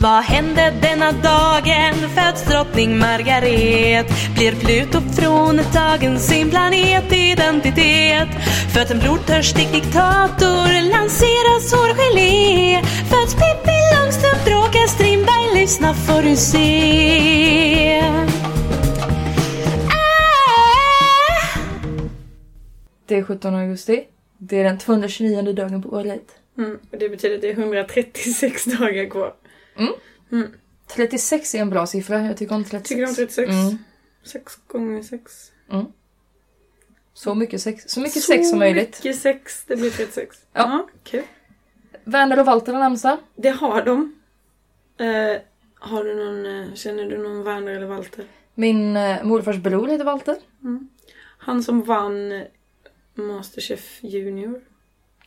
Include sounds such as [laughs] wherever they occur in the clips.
Vad hände denna dagen? Föds drottning Margaret? Blir Pluto från ett dagen sin planetidentitet? Föds en blodtörstig diktator? Lanseras hårgelé? Föds Pippi Långstrump? Bråkar Strindberg? Lyssna får du se. Ah! Det är 17 augusti. Det är den 229 dagen på året. Mm. Och det betyder att det är 136 dagar kvar. Mm. Mm. 36 är en bra siffra. Jag tycker om 36. Tycker du om 36? Mm. 6 gånger 6. Så mycket sex. Så mycket sex som möjligt. Så mycket sex, det blir 36. Ja. Ja, okej. Werner och Walter har namnsdag. Det har de. Eh, har du någon, eh, känner du någon Werner eller Walter? Min eh, morfars bror heter Walter. Han som vann eh, Masterchef Junior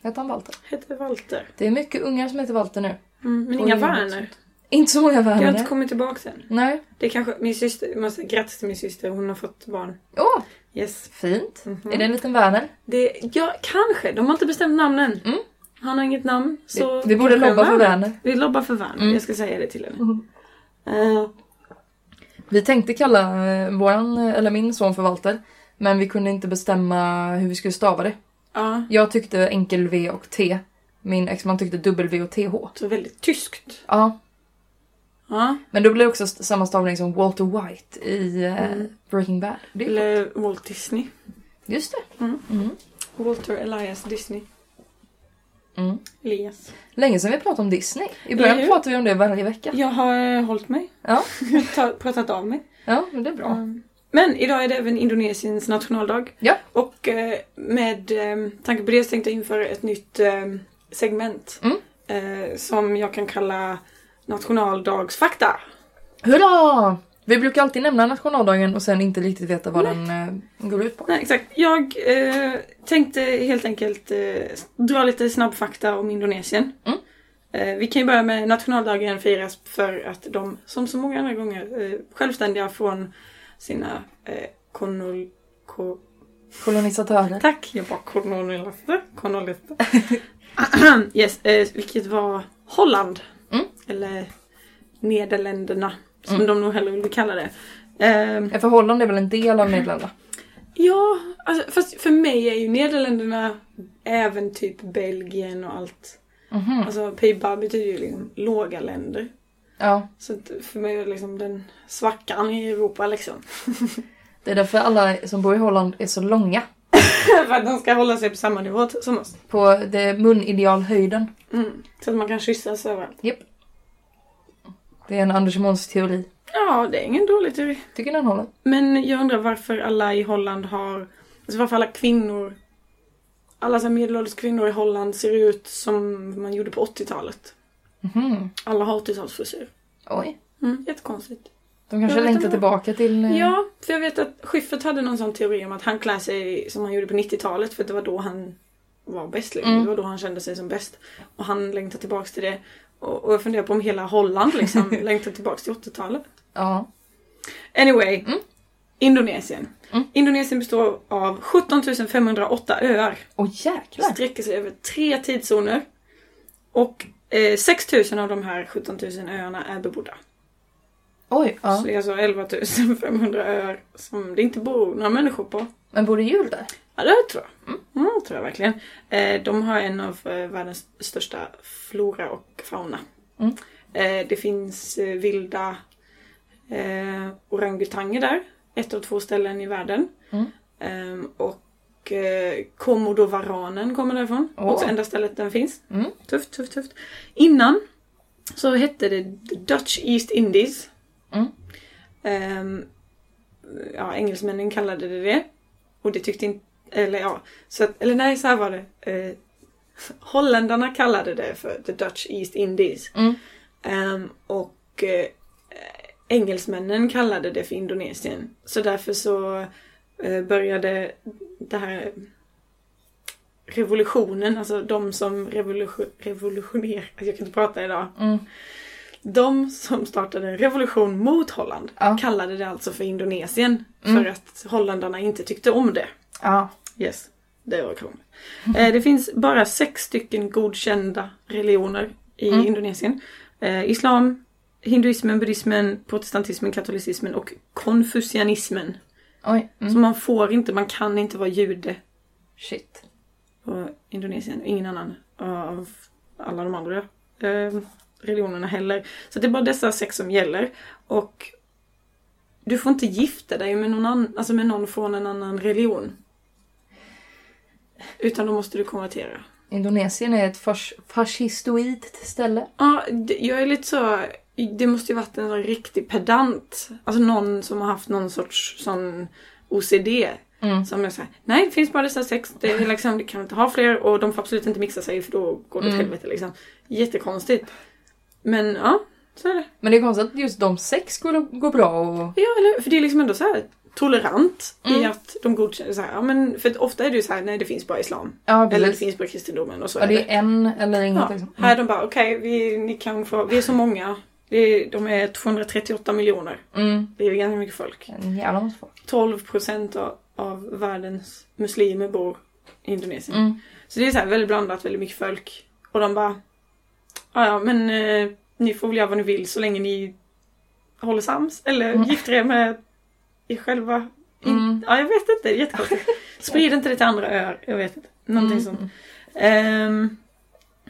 Heter han Walter. hette Walter. Det är mycket ungar som heter Walter nu. Mm, men Oj, inga vad Werner. sånt. Inte så många Jag har Werner. inte kommit tillbaka än. Nej. Det är kanske, min syster, man säger grattis till min syster, hon har fått barn. Åh, Yes. fint. Mm. Är det en liten Werner? Det, ja, kanske. De har inte bestämt namnen. Mm. Han har inget namn. Så Vi- vi borde kanske lobba för Mm. Werner. Werner. Vi lobbar för Werner, jag ska säga det till henne. Mm. Eh, Vi tänkte kalla eh, våran, eh, eller min son för Walter. Men vi kunde inte bestämma hur vi skulle stava det. ja, Jag tyckte enkel V och T. Min exman tyckte W och TH. så väldigt tyskt. Ja, Ja. men då blir det också st- samma stavning som Walter White i eh, Breaking Bad. Det är, Mm. Eller Mm. Walt Disney. just det. Walter Elias Disney. Mm. Elias. Länge sedan vi pratade om Disney. I början Eller hur? pratade vi om det varje vecka. Jag har eh, hållit mig. Ja, Ta, [laughs] pratat av mig. ja men det är bra. Ehm. Men idag är det även Indonesiens nationaldag. Ja. Och eh, med eh, tanke på det så tänkte jag införa ett nytt eh, segment. Mm. Eh, som jag kan kalla Nationaldagsfakta. Hurra! Vi brukar alltid nämna nationaldagen och sen inte riktigt veta vad den eh, går ut på. Nej, exakt. Jag eh, tänkte helt enkelt eh, dra lite snabbfakta om Indonesien. Mm. Eh, vi kan ju börja med nationaldagen firas för att de, som så många andra gånger, eh, självständiga från sina eh, konol... Ko, Kolonisatörer. tack, jag var kolonialister. Kolonialister. [clears throat] yes, eh, vilket var Holland. Mm. Eller Nederländerna, som de nog hellre vill kalla det. Ehm, Ja, För Holland är väl en del av Nederländerna? Ja, alltså, fast för mig är ju Nederländerna även typ Belgien och allt. Mhm. Alltså Piba betyder ju liksom låga länder. Ja. Så att för mig är det liksom den svackan i Europa liksom. [laughs] Det är därför alla som bor i Holland är så långa. för att de ska hålla sig på samma nivå t- som oss. På det munidealhöjden. Mm. Så att man kan kyssas överallt. Japp. Det är en Anders Måns teori. Ja, det är ingen dålig teori. Tycker den håller? Men jag undrar varför alla i Holland har... Alltså varför alla kvinnor... Alla så här medelålders kvinnor i Holland ser ut som man gjorde på 80-talet. Mhm. Alla har 80-talsfrisyr. Oj. Mm, jättekonstigt. De kanske Jag vet längtar inte. tillbaka till... eh, Ja, för jag vet att Schyffert hade någon sån teori om att han klär sig som han gjorde på 90-talet för att det var då han var bäst. Liksom. Mm. Det var då han kände sig som bäst. Och han längtar tillbaks till det. Och, och jag funderar på om hela Holland [laughs] liksom längtar tillbaks till 80-talet. ja. Anyway. Indonesien. Indonesien består av 17 508 öar. Åh jäklar. Sträcker sig över tre tidszoner. Och eh, 6 000 av de här 17 000 öarna är bebodda. Oj. Ja. Så det är alltså 11 500 öar som det inte bor några människor på. Men bor det djur där? Ja, det tror jag. Mm, det tror jag verkligen. Eh, de har en av eh, världens största flora och fauna. Mm. Eh, det finns eh, vilda eh, orangutanger där. Ett av två ställen i världen. Mm. Ehm, och eh, komodovaranen kommer därifrån. Åh. Också enda stället den finns. Mm. Tufft, tufft, tufft. Innan så hette det Dutch East Indies. Mm. Ehm, ja, engelsmännen kallade det det. Och det tyckte inte... Eller ja. Så att, eller nej, så här var det. Eh, holländarna kallade det för The Dutch East Indies. Mm. Ehm, och eh, engelsmännen kallade det för Indonesien. Så därför så eh, började det här revolutionen, alltså de som revolution, revolutionerade, jag kan inte prata idag. Mm. De som startade en revolution mot Holland Ja. kallade det alltså för Indonesien Mm. för att holländarna inte tyckte om det. Ja. Yes, det var krångligt. Eh, det finns bara sex stycken godkända religioner i Indonesien. Eh, Islam, hinduismen, buddhismen, protestantismen, katolicismen och konfucianismen. Oj. Mm. Så man får inte, man kan inte vara jude Shit. på Indonesien. Ingen annan eh, av alla de andra eh, religionerna heller. Så det är bara dessa sex som gäller. Och du får inte gifta dig med någon, annan, alltså med någon från en annan religion. Utan då måste du konvertera. Indonesien är ett fas- fascistoidt ställe. Ja, det- jag är lite så... Det måste ju varit en sån riktig pedant. Alltså någon som har haft någon sorts sån OCD. Mm. Som är såhär, nej det finns bara dessa sex, det, är liksom, det kan inte ha fler och de får absolut inte mixa sig för då går det åt Mm. helvete liksom. Jättekonstigt. Men ja, så är det. Men det är konstigt att just de sex går, går bra och... Ja, eller hur? För det är liksom ändå så här tolerant i Mm. att de godkänner så här, ja men för att ofta är det ju så här, nej det finns bara islam. Ja, Eller det precis. finns bara kristendomen och så Ja, är det. det är en eller inget Ja, liksom. här är de bara, okej, vi, ni kan få, vi är så många. Det är, de är 238 miljoner. Mm. Det är ju ganska mycket folk. En jävla massa folk. 12 procent av, av världens muslimer bor i Indonesien. Mm. Så det är så här väldigt blandat, väldigt mycket folk. Och de bara, ja ja, men eh, ni får väl göra vad ni vill så länge ni håller sams. Eller Mm. gifter er med er själva. In, Mm. Ja, jag vet inte, det är jättekonstigt. [laughs] Sprid inte det till andra öar, jag vet inte. Någonting Mm. sånt. Ehm,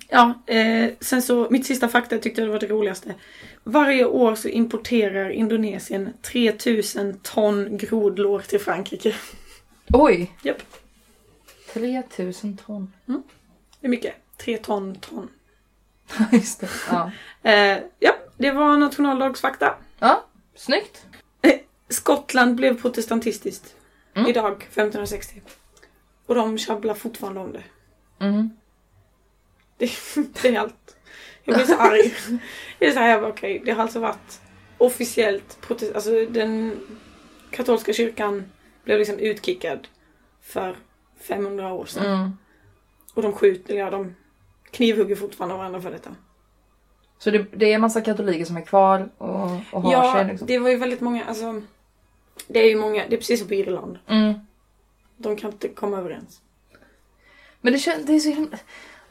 ja, eh, sen så mitt sista fakta tyckte jag var det roligaste. Varje år så importerar Indonesien 3000 ton grodlår till Frankrike. Oj! Japp. 3000 ton. [laughs] Det är mycket. 3 ton ton. Just det. Ja. Eh, ja, det var nationaldagsfakta. ja, snyggt. Skottland blev protestantistiskt Mm. idag, 1560. Och de tjabblar fortfarande om det. Mm. Det, det är allt. Jag blir så arg. Det är så här, jag bara, okej, det har alltså varit officiellt protest, alltså den katolska kyrkan blev liksom utkickad för 500 år sedan. Mm. Och de skjuter, ja de knivhugger fortfarande varandra för detta. Så det, det är en massa katoliker som är kvar och, och har sig Ja, liksom. det var ju väldigt många, alltså det är ju många, det är precis som på Irland. Mm. De kan inte komma överens. Men det känns... Det är så himla...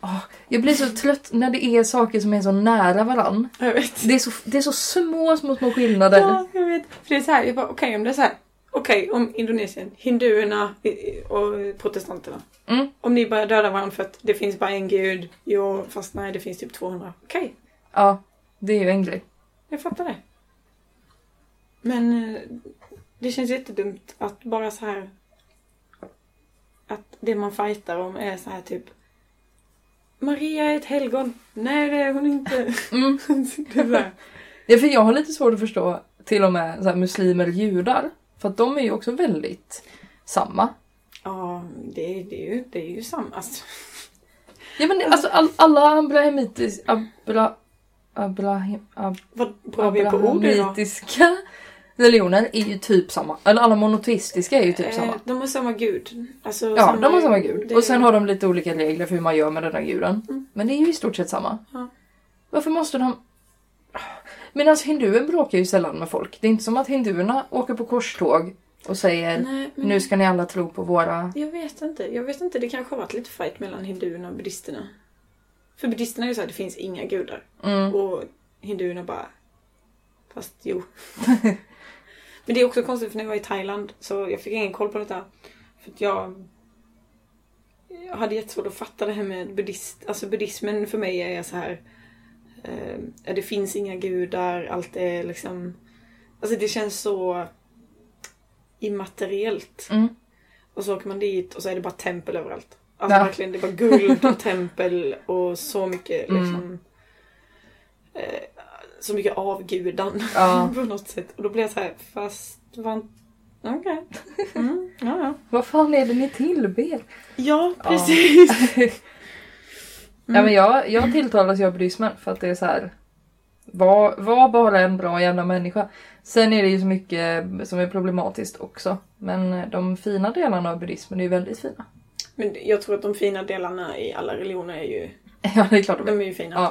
Åh, jag blir så trött när det är saker som är så nära varann. Jag vet. Det är så, det är så små, små, små skillnader. Ja, jag vet. För det är så här, jag bara, okej om det är så här. Okej, om Indonesien, hinduerna eh, och protestanterna. Mm. Om ni börjar döda varandra för att det finns bara en gud. Jo, fast nej, det finns typ 200. Okej, Ja, det är ju en grej. jag fattar det. Men eh, det känns jättedumt att bara så här att det man fightar om är så här typ Maria är ett helgon. Nej, det är hon inte. [laughs] Mm. det är så här. Ja, för jag har lite svårt att förstå till och med så här, muslimer och judar. För att de är ju också väldigt samma. Ja, det, det, är ju, det är ju samma. Alltså, Ja, men alltså all, alla abrahamitiska... Abra, abraham, ab, vad bra vi är på ord idag. abrahamitiska religioner är ju typ samma. Eller alla monoteistiska är ju typ Eh, samma. De har samma gud. Alltså, Ja, de har samma gud. det- Och sen har de lite olika regler för hur man gör med den här guden. Mm. Men det är ju i stort sett samma. Ja. Varför måste de... Men alltså hinduer bråkar ju sällan med folk. Det är inte som att hinduerna åker på korståg och säger Nej, men nu ska ni alla tro på våra... Jag vet inte. Jag vet inte. Det kanske har varit lite fight mellan hinduerna och buddhisterna. För buddhisterna är ju såhär, det finns inga gudar. Mm. Och hinduerna bara... Fast jo. [laughs] Men det är också konstigt för när jag var i Thailand så jag fick ingen koll på detta. För att jag... Jag hade jättesvårt att fatta det här med buddhist... Alltså buddhismen för mig är så här... Eh, ja, det finns inga gudar, allt är liksom... Alltså det känns så immateriellt. Mm. Och så åker man dit och så är det bara tempel överallt. Alltså Ja. verkligen, det är bara [laughs] guld och tempel och så mycket Mm. liksom... Eh, så mycket avgudan Ja. [laughs] på något sätt. Och då blir jag så här, fast var inte- Okej. Mm, ja, ja. Vad fan är det ni tillber? ja, Ja. [laughs] precis. Nej men jag, jag tilltalas ju av buddhismen för att det är så här. Var, var bara en bra jävla människa. Sen är det ju så mycket som är problematiskt också. Men de fina delarna av buddhismen är ju väldigt fina. [laughs] Men jag tror att de fina delarna i alla religioner är ju... Ja det är klart de är. De är ju fina. Ja.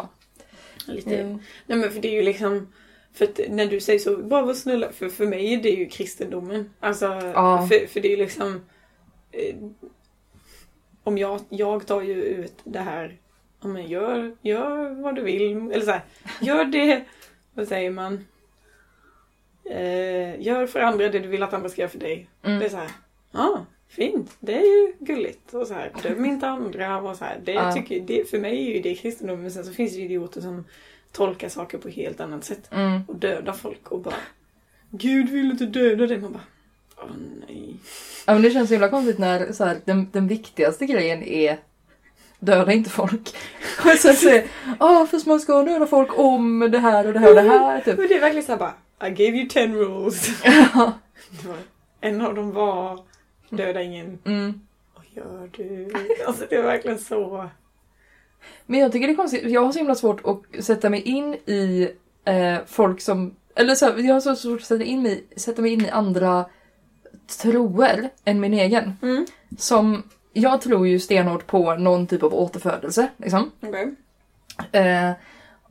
Mm. Lite. Nej men för det är ju liksom... För att när du säger så, bara var snälla. För, för mig är det ju kristendomen. Alltså, Ja. för, för det är ju liksom... Eh, om jag, jag tar ju ut det här, ja men gör, gör vad du vill. Eller så här, gör det Vad säger man? Eh, gör för andra det du vill att andra ska göra för dig. Mm. Det är så här. Ja, ah, fint. Det är ju gulligt. Och så här, döm inte andra. Och så här. Det, Ja. tycker, det, för mig är ju det kristendomen. Men sen så finns det ju idioter som tolkar saker på helt annat sätt. Mm. Och dödar folk och bara Gud vill inte döda dig. Man bara Åh nej. Ja, men det känns så himla konstigt när så här, den, den viktigaste grejen är döda inte folk. [laughs] Och sen säger åh "Ah, för man ska döda folk om det här och det här och det här. Typ. Men det är verkligen såhär bara I gave you [laughs] ten rules. Det var, en av dem var döda ingen. Mm. Vad gör du? Alltså det är verkligen så. Men jag tycker det är konstigt, jag har så himla svårt att sätta mig in i eh, folk som, eller så här, jag har så svårt att sätta, in mig, sätta mig in i andra troer än min egen. Mm. Som, jag tror ju stenhårt på någon typ av återfödelse liksom. Okej. Eh,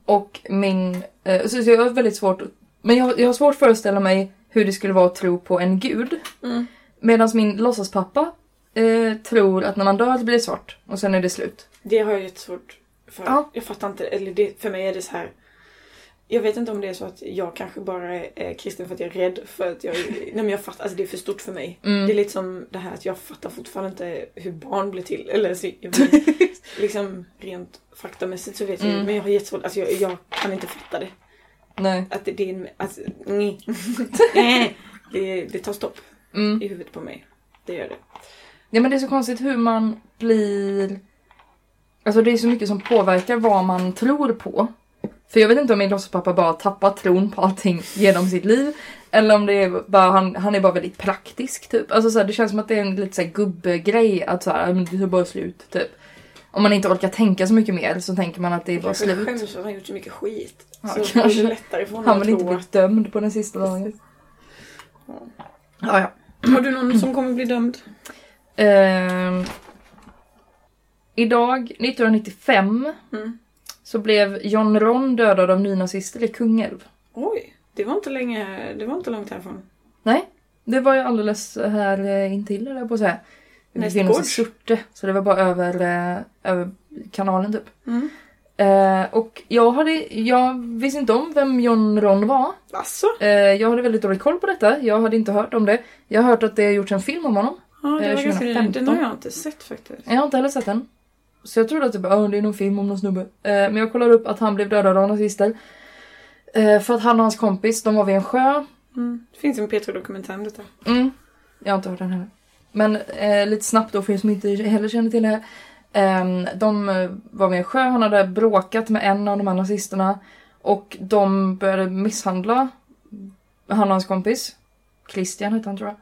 och min... Eh, så så jag har väldigt svårt... Men jag, jag har svårt att föreställa mig hur det skulle vara att tro på en gud. Mm. Medan min låtsaspappa eh, tror att när man dör blir det svart och sen är det slut. Det har jag jättesvårt för. Ja. Jag fattar inte. Eller det, för mig är det så här. Jag vet inte om det är så att jag kanske bara är är kristen för att jag är rädd. För att jag, [laughs] nej men jag fattar, alltså det är för stort för mig. Mm. Det är lite som det här att jag fattar fortfarande inte hur barn blir till. Eller så, jag [laughs] vet, liksom rent faktamässigt så vet jag Mm. ju, Men jag har jättesvårt, alltså jag, jag kan inte fatta det. Nej. Att det, det är en, alltså, [laughs] nej. [laughs] Nej. det, det tar stopp Mm. i huvudet på mig. Det gör det. Ja men det är så konstigt hur man blir... Alltså det är så mycket som påverkar vad man tror på. För jag vet inte om min låtsaspappa bara tappar tron på allting genom sitt liv. Eller om det är bara, han, han är bara väldigt praktisk typ. Alltså så här, det känns som att det är en lite så här gubbegrej att så här, "Ja, men det är bara slut typ. Om man inte orkar tänka så mycket mer så tänker man att det är bara Kanske slut. skäms för att han gjort så mycket skit. Ja, så det kanske. är lättare för honom Han att vill inte tro bli dömd på den sista dagen. Ja, ja. Har du någon som kommer bli dömd? Ehm, idag, 1995, Mm. så blev John Ron dödad av nynazister i Kungälv. Oj, det var inte länge, det var inte långt härifrån. Nej, det var ju alldeles här eh, intill, höll jag på att säga. Vi Näst befinner oss i gård. Surte, så det var bara över, eh, över kanalen typ. Mm. Eh, och jag, hade, jag visste inte om vem John Ron var. Alltså? Eh, jag hade väldigt dålig koll på detta. Jag hade inte hört om det. Jag har hört att det har gjorts en film om honom. Ja, det Eh, var ganska, 2015. den har jag inte sett faktiskt. Jag har inte heller sett den. Så jag trodde att det bara, "Åh, det är någon film om någon snubbe. Eh, men jag kollade upp att han blev dödad av nazister. Eh, för att han och hans kompis, de var vid en sjö. Mm. Det finns en P3-dokumentär om detta. Mm. Jag har inte hört den heller. Men eh, lite snabbt då för er som inte heller känner till det här. Ehm, de eh, var vid en sjö, han hade bråkat med en av de här nazisterna. Och de började misshandla han och hans kompis. Christian hette han tror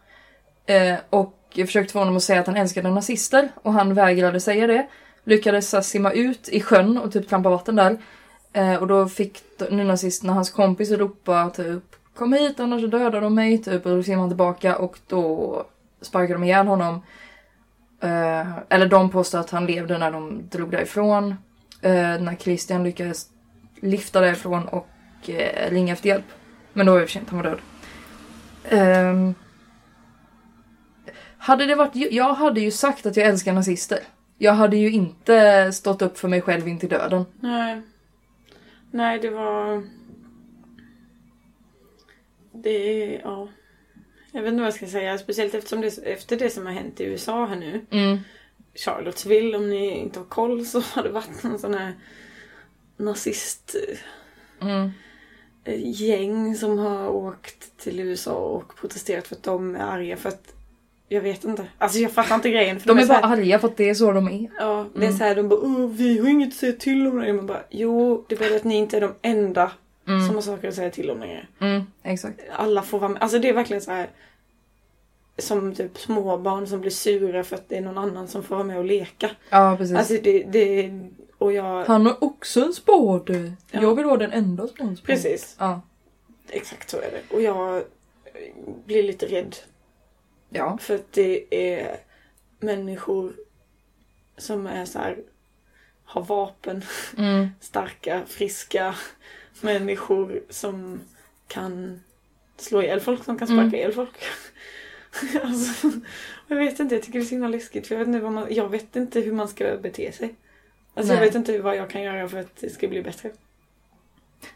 jag. Eh, och jag försökte få honom att säga att han älskade nazister och han vägrade säga det. Lyckades så här, simma ut i sjön och typ trampa vatten där. Eh, och då fick d- nynazisterna hans kompis ropa typ Kom hit annars så dödar de mig typ och då simmar han tillbaka och då sparkar de ihjäl honom. Eh, eller de påstår att han levde när de drog därifrån. Eh, när Christian lyckades lyfta därifrån och eh, ringa efter hjälp. Men då var det för sent, han var död. Ehm. hade det varit... Jag hade ju sagt att jag älskar nazister. Jag hade ju inte stått upp för mig själv in till döden. Nej. Nej, det var... Det är, ja. Jag vet inte vad jag ska säga, speciellt eftersom det, efter det som har hänt i USA här nu. Mm. Charlottesville om ni inte har koll så [laughs] har det varit någon sån här nazistgäng Mm. som har åkt till USA och protesterat för att de är arga för att jag vet inte. Alltså jag fattar inte grejen. För De är så bara Mm. här, arga för att det är så de är. Ja, det är så här, de bara "Åh, vi har inget att säga till om längre. Man bara jo, det är bara att ni inte är de enda Mm. som har saker att säga till om längre. Mm, exakt. alla får vara med. Alltså det är verkligen så här som typ småbarn som blir sura för att det är någon annan som får vara med och leka. Ja, precis. Alltså det, det och jag... han har också en spade. Ja. Jag vill vara den enda som har en spade. Precis, Ja. exakt så är det. Och jag blir lite rädd Ja. för att det är människor som är så här har vapen, Mm. starka, friska människor som kan slå ihjäl folk, som kan sparka Mm. ihjäl folk. [laughs] alltså, jag vet inte, jag tycker det är så himla läskigt för jag vet inte, vad man, jag vet inte hur man ska bete sig. Alltså jag Nej. vet inte vad jag kan göra för att det ska bli bättre.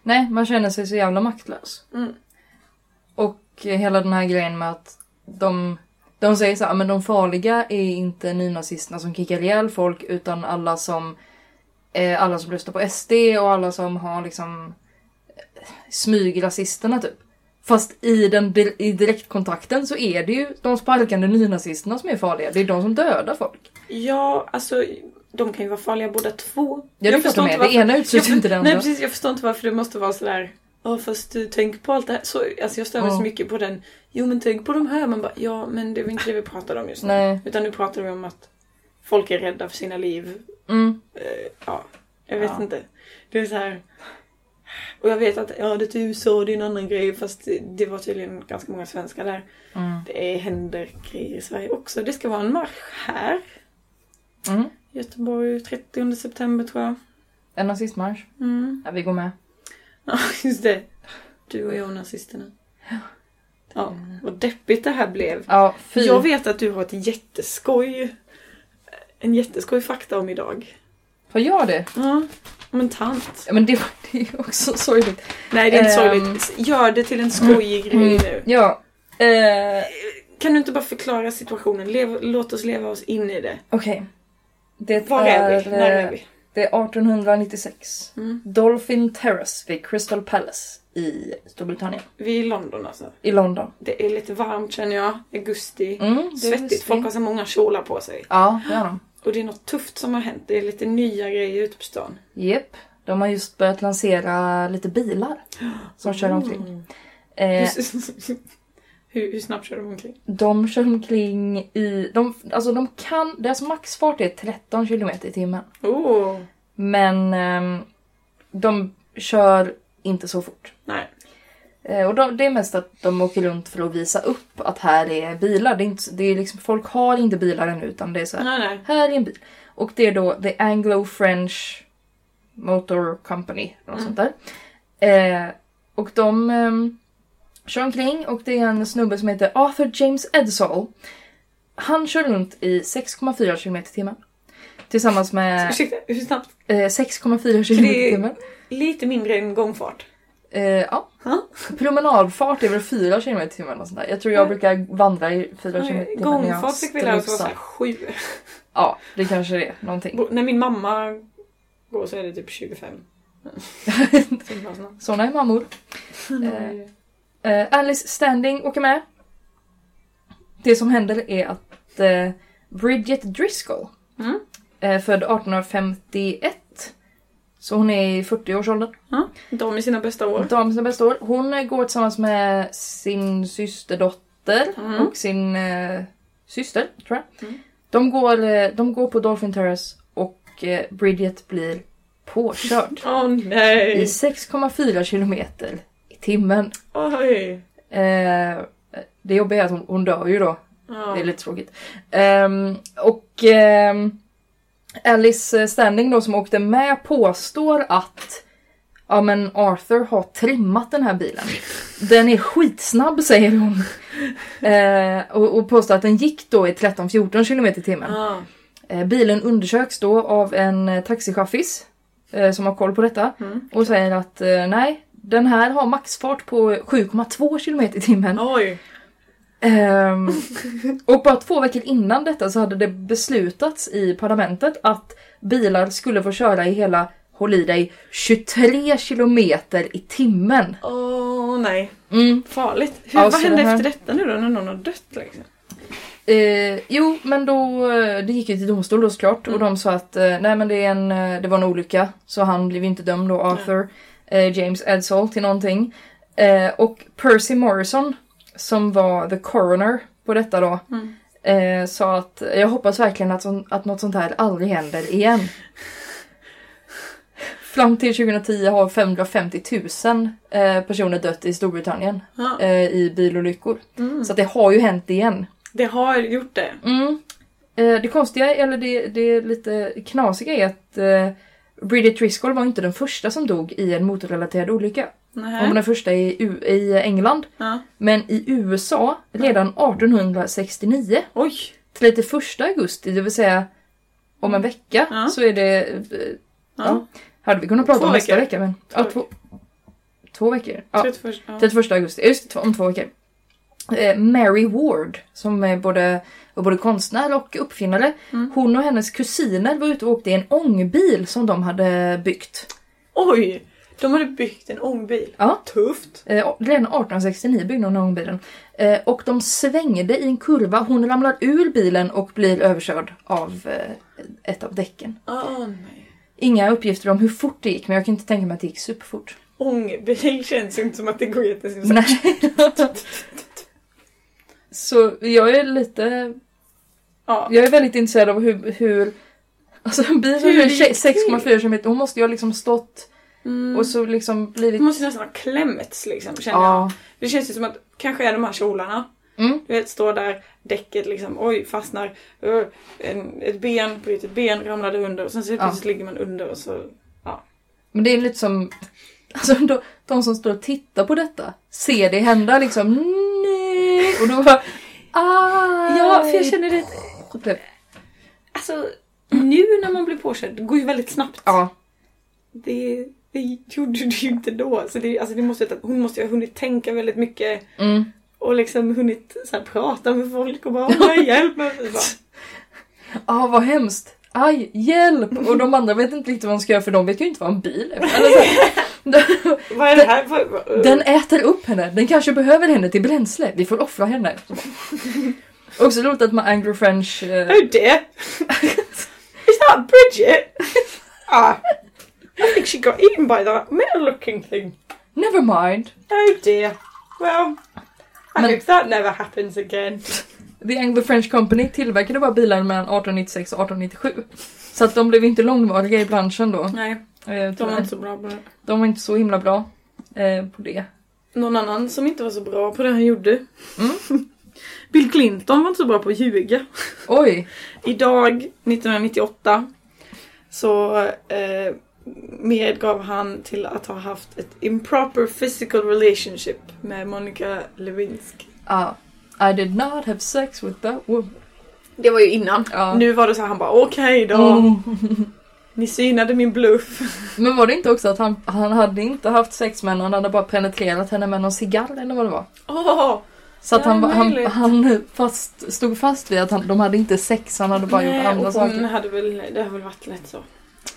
Nej, man känner sig så jävla maktlös. Mm. Och hela den här grejen med att de, de säger så här, "Ah, men de farliga är inte nynazisterna som kickar ihjäl folk utan alla som, eh, alla som röstar på SD och alla som har liksom eh, smygrasisterna typ. Fast i, den, di- i direktkontakten så är det ju de sparkande nynazisterna som är farliga. Det är de som dödar folk. Ja, alltså de kan ju vara farliga båda två. Ja, det är klart de är. Det ena utesluter jag, inte det Nej andra. precis, jag förstår inte varför det måste vara sådär. Ja fast du tänk på allt det här. Så, alltså jag stör mig Ja. så mycket på den. Jo men tänk på de här. Man bara ja men det var inte det vi pratade om just nu. Nej. Utan nu pratar vi om att folk är rädda för sina liv. Mm. Eh, ja, jag vet Ja. inte. Det är så här. Och jag vet att ja, det är till USA och det är en annan grej. Fast det- det var tydligen ganska många svenskar där. Mm. Det är, händer grejer i Sverige också. Det ska vara en marsch här. Mm. Göteborg 30 september tror jag. En nazistmarsch. Mm. [laughs] Ja, vi går med. Ja, just det. Du och jag och nazisterna. Ja, Ah! vad deppigt det här blev. Ja, fy. Jag vet att du har ett jätteskoj. En jätteskoj fakta om idag. Har jag det? Ja, om en tant. Ja, men det, det är ju också sorgligt. Nej, det är inte Ehm. sorgligt. Gör det till en skojig grej nu. Mm. Ja. Eh, Kan du inte bara förklara situationen? Lev, låt oss leva oss in i det. Okej. Det Var är, vi? När är eh, vi? Det är 1896. Mm. Dolphin Terrace vid Crystal Palace i Storbritannien. Vi är i London alltså. I London. Det är lite varmt känner jag. Augusti. Mm, det är Svettigt. visst- Folk har så många kjolar på sig. Ja, det har de. Och det är något tufft som har hänt. Det är lite nya grejer ute på stan. Jep. De har just börjat lansera lite bilar som kör omkring. Eh, [laughs] hur, hur snabbt kör de omkring? de kör omkring i... De, alltså de kan... Deras maxfart är 13 km i timmen. Oh, Men ehm, de kör inte så fort. nej. Eh, Och de, det är mest att de åker runt för att visa upp att här är bilar. Det är inte, det är liksom, folk har inte bilar ännu utan det är så här, Nej, nej. här är en bil. Och det är då The Anglo-French Motor Company, eller Mm. något sånt där. Eh, och de ehm, kör omkring och det är en snubbe som heter Arthur James Edsall. Han kör runt i 6,4 km i timmen. Tillsammans med Ursäkta, hur snabbt? eh, 6,4 km i Det- timmen. Lite mindre än gångfart. Eh, ja. Ja. Promenadfart är väl 4 km i timmen och sånt där. Jag tror jag Mm. brukar vandra i 4 km i timmen. när jag Gångfart fick vi lära oss vara strosar. såhär sju. Ja, det kanske är någonting. [laughs] Bo- När min mamma går så är det typ 25. Timmar Mm. snabbt. Såna är mammor. Eh, eh, Alice Standing åker med. Det som händer är att eh, Bridget Driscoll, Mm. eh, född 1851, så hon är i 40-årsåldern. Ja, de i sina bästa år. Dam sina bästa år. Hon eh, går tillsammans med sin systerdotter Mm. och sin eh, syster, tror jag. Mm. De, går, eh, de går på Dolphin Terrace och eh, Bridget blir påkörd Åh i nej! 6,4 kilometer i timmen. Oj! Eh, det jobbiga är att hon, hon dör ju då. Ja. Det är lite tråkigt. Ehm, och ehm, Alice eh, Standing då som åkte med påstår att ja men Arthur har trimmat den här bilen. Den är skitsnabb säger hon. Eh, och, och påstår att den gick då i 13-14 km i timmen. Ja. Eh, bilen undersöks då av en eh, taxichaffis eh, som har koll på detta Mm. och säger att eh, nej, den här har maxfart på 7,2 km i timmen. Oj! Ehm, och bara två veckor innan detta så hade det beslutats i parlamentet att bilar skulle få köra i hela, håll i dig, 23 kilometer i timmen. Åh nej. Mm. Farligt. Hur, Alltså, vad hände det här- efter detta nu då när någon har dött liksom? Eh, jo, men då, eh, det gick ju till domstol då såklart och de sa att eh, nej men det, är en, eh, det var en olycka så han blev ju inte dömd då, Arthur eh, James Edsall till någonting. Eh, och Percy Morrison som var the coroner på detta då Mm. eh, sa att jag hoppas verkligen att, sån, att något sånt här aldrig händer igen. Fram till 2010 har 550 000 eh, personer dött i Storbritannien Ja. eh, i bilolyckor. Mm. Så att det har ju hänt igen. Det har gjort det. Mm. Eh, Det konstiga, eller det, det lite knasiga är att eh, Bridget Driscoll var inte den första som dog i en motorrelaterad olycka. Hon var Nej. den första i, U- i England. Ja. Men i USA redan Mm. 1869, Oj! till 31 augusti, det vill säga om en vecka, Ja. så är det... eh, Ja. Hade vi kunnat prata Två om nästa veckor. vecka men... Två Ja, två, Två veckor? Ja. 31, ja. 31 augusti, just det, två- om två veckor. Eh, Mary Ward, som är både, var både konstnär och uppfinnare. Mm. Hon och hennes kusiner var ute och åkte i en ångbil som de hade byggt. Oj! De hade byggt en ångbil. Ja. Tufft. Eh, och redan 1869 byggde hon den ångbilen. Eh, och de svängde i en kurva, hon ramlar ur bilen och blir överkörd av eh, ett av däcken. Ah, nej. Inga uppgifter om hur fort det gick, men jag kan inte tänka mig att det gick superfort. Ångbil [laughs] känns ju inte som att det går jättesnabbt. Nej. [laughs] Så jag är lite Ja. Jag är väldigt intresserad av hur... hur alltså en bil som Hur kör det gick 6,4 km, hon måste ju ha liksom stått Mm. och så liksom blivit... Det måste nästan ha klämts liksom känner jag. ja. Det känns ju som att kanske är de här kjolarna. Mm. Du vet, står där, däcket liksom, oj, fastnar. Ö, en, ett ben, brutet ben ramlade under och sen så Ja. plötsligt ligger man under och så... Men det är lite som... Alltså de, de som står och tittar på detta ser det hända liksom nej och då [laughs] bara... Aj. känner det... Typ. Alltså, nu när man blir påkörd, det går ju väldigt snabbt. Ja. Det, det gjorde du ju inte då. Så det, alltså det måste, hon måste ju ha hunnit tänka väldigt mycket Mm. och liksom hunnit så här, prata med folk och bara "Åh, nej, hjälp mig. Så bara, Ah, vad hemskt! Aj, hjälp! Och de andra vet inte riktigt vad de ska göra för de vet ju inte vad en bil är. Alltså, Vad är det här? Vad, [laughs] vad, Den äter upp henne. Den kanske behöver henne till bränsle. Vi får offra henne. Också roligt att man anglo-french... Eh, Oh dear! [laughs] Is that Bridget? [laughs] ah, I think she got eaten by that metal looking thing. never mind. Oh dear. Well, I Men- hope that never happens again. The Anglo-French Company tillverkade bara bilar mellan 1896 och 1897. Så att de blev inte långvariga i branschen då. Nej, Eh, de var tyvärr. inte så bra på det. de var inte så himla bra eh, på det. Någon annan som inte var så bra på det han gjorde. Mm. Bill Clinton var inte så bra på att ljuga. Oj! Idag, 1998, så eh, medgav han till att ha haft ett improper physical relationship med Monica Lewinsky. Ah, I did not have sex with that woman. Det var ju innan. Ja. Nu var det så här, han bara okej då. Mm. Ni synade min bluff. Men var det inte också att han, han hade inte haft sex med henne, han hade bara penetrerat henne med någon cigarr eller vad det var? Åh! Så att Ja, han, han, möjligt. han fast, stod fast vid att han, de hade inte sex, han hade bara Nej, gjort andra och hon saker. hade väl, det har väl varit lätt så.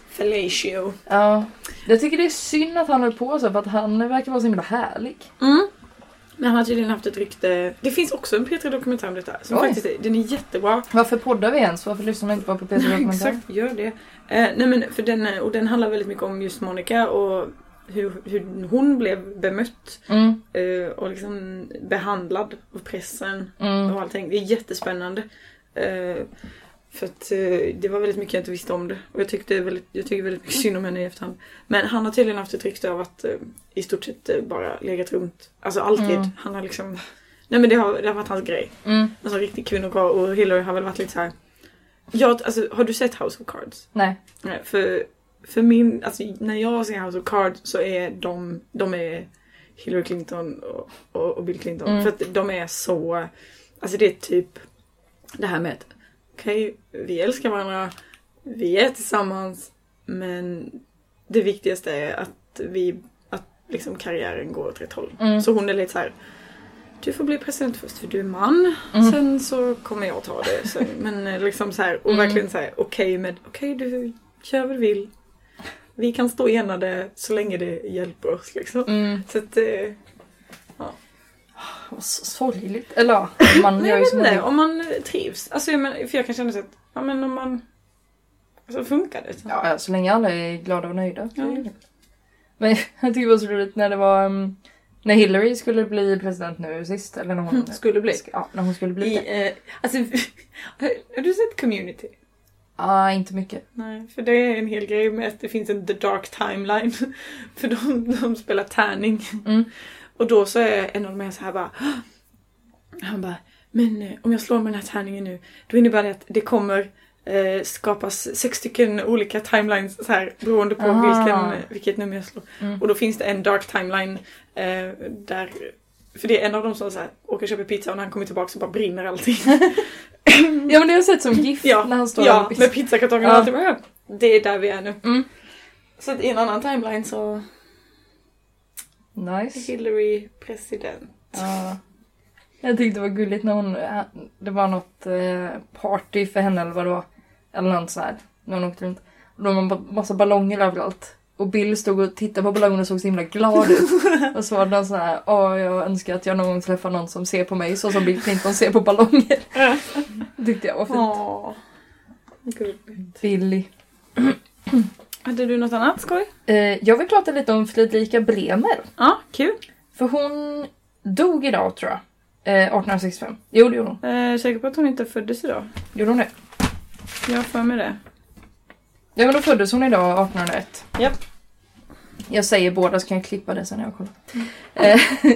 Fellatio. Ja. Jag tycker det är synd att han höll på så för att han verkar vara så himla härlig. Mm. Men han har tydligen haft ett rykte. Det finns också en P3 Dokumentär om detta. Som Oj. faktiskt är, den är jättebra. Varför poddar vi ens? Varför lyssnar man inte bara på Peter Dokumentär? Exakt, gör det. Eh, nej men för den, eh, och den handlar väldigt mycket om just Monica och hur, hur hon blev bemött Mm, eh, och liksom behandlad av pressen. mm, och allting. Det är jättespännande. Eh, för att eh, det var väldigt mycket jag inte visste om det. Och jag tyckte väldigt, jag tycker väldigt mycket synd om henne i efterhand. Men han har tydligen haft ett rykte av att eh, i stort sett eh, bara legat runt. Alltså alltid. Mm. Han har liksom... Nej men det har, det har varit hans grej. mm. Alltså riktig kvinnokarl och Hillary har väl varit lite så här. Ja, alltså har du sett House of Cards? Nej. Nej, för, för min... Alltså när jag ser House of Cards så är de... De är Hillary Clinton och, och, och Bill Clinton. Mm. För att de är så... Alltså det är typ det här med att okej, vi älskar varandra, vi är tillsammans, men det viktigaste är att vi, att liksom karriären går åt rätt håll. Mm. Så hon är lite så här. Du får bli president först för du är man. Mm. Sen så kommer jag ta det. Sen. Men eh, liksom så här, och Mm. verkligen så här okej med okej du gör vad du vill. Vi kan stå enade så länge det hjälper oss liksom. Mm. Så att, eh, Vad så- sorgligt. Eller ja, man Nej, gör jag ju vet som man inte. vill. Om man trivs. Alltså, jag men, för jag kan känna så att, ja men om man... Alltså funkar det? Så. Ja, ja, så länge alla är glada och nöjda. Ja. Men [laughs] jag tycker det var så roligt när det var... um, När Hillary skulle bli president nu sist, eller när hon... Mm, skulle bli. Ja, när hon skulle bli I, det. eh, alltså, [laughs] har du sett Community? Ah, inte mycket. Nej, för det är en hel grej med att det finns en The Dark Timeline. [laughs] För de, de spelar tärning. Mm. Och då så är en av dem är så här bara... "Hå!" Han bara, men eh, om jag slår med den här tärningen nu, då innebär det att det kommer eh, skapas sex stycken olika timelines så här, beroende på Aha. vilken, vilket nummer jag slår. Mm. Och då finns det en dark timeline eh, där... För det är en av dem som så här, åker och köper pizza och när han kommer tillbaka så bara brinner allting. Ja men det har jag sett som GIF Mm. Ja, när han står ja, där. med pizzakartongen och Ja. allt det där. Det är där vi är nu. Mm. Så att i en annan timeline så Nice. Hillary president. Ja. Jag tyckte det var gulligt när hon... eh, Det var något eh, party för henne eller vad det var. Eller något sånt här. När hon åkte runt. Och då var det massa ballonger överallt. Och Bill stod och tittade på ballongerna och såg så himla glad ut. Och så var det någon sån här, åh jag önskar att jag någon gång träffar någon som ser på mig så som Bill Clinton ser på ballonger. Tyckte jag var fint. Åh. Gulligt. Billy. Hade du något annat skoj? Eh, jag vill prata lite om Fredrika Bremer. Ja, kul. För hon dog idag tror jag. Eh, 1865. Jo det gjorde hon. Eh, säker på att hon inte föddes idag? Gjorde hon det? Jag har för mig det. Ja men då föddes hon idag 1801. Japp. Jag säger båda så kan jag klippa det sen när jag kollar. Eh,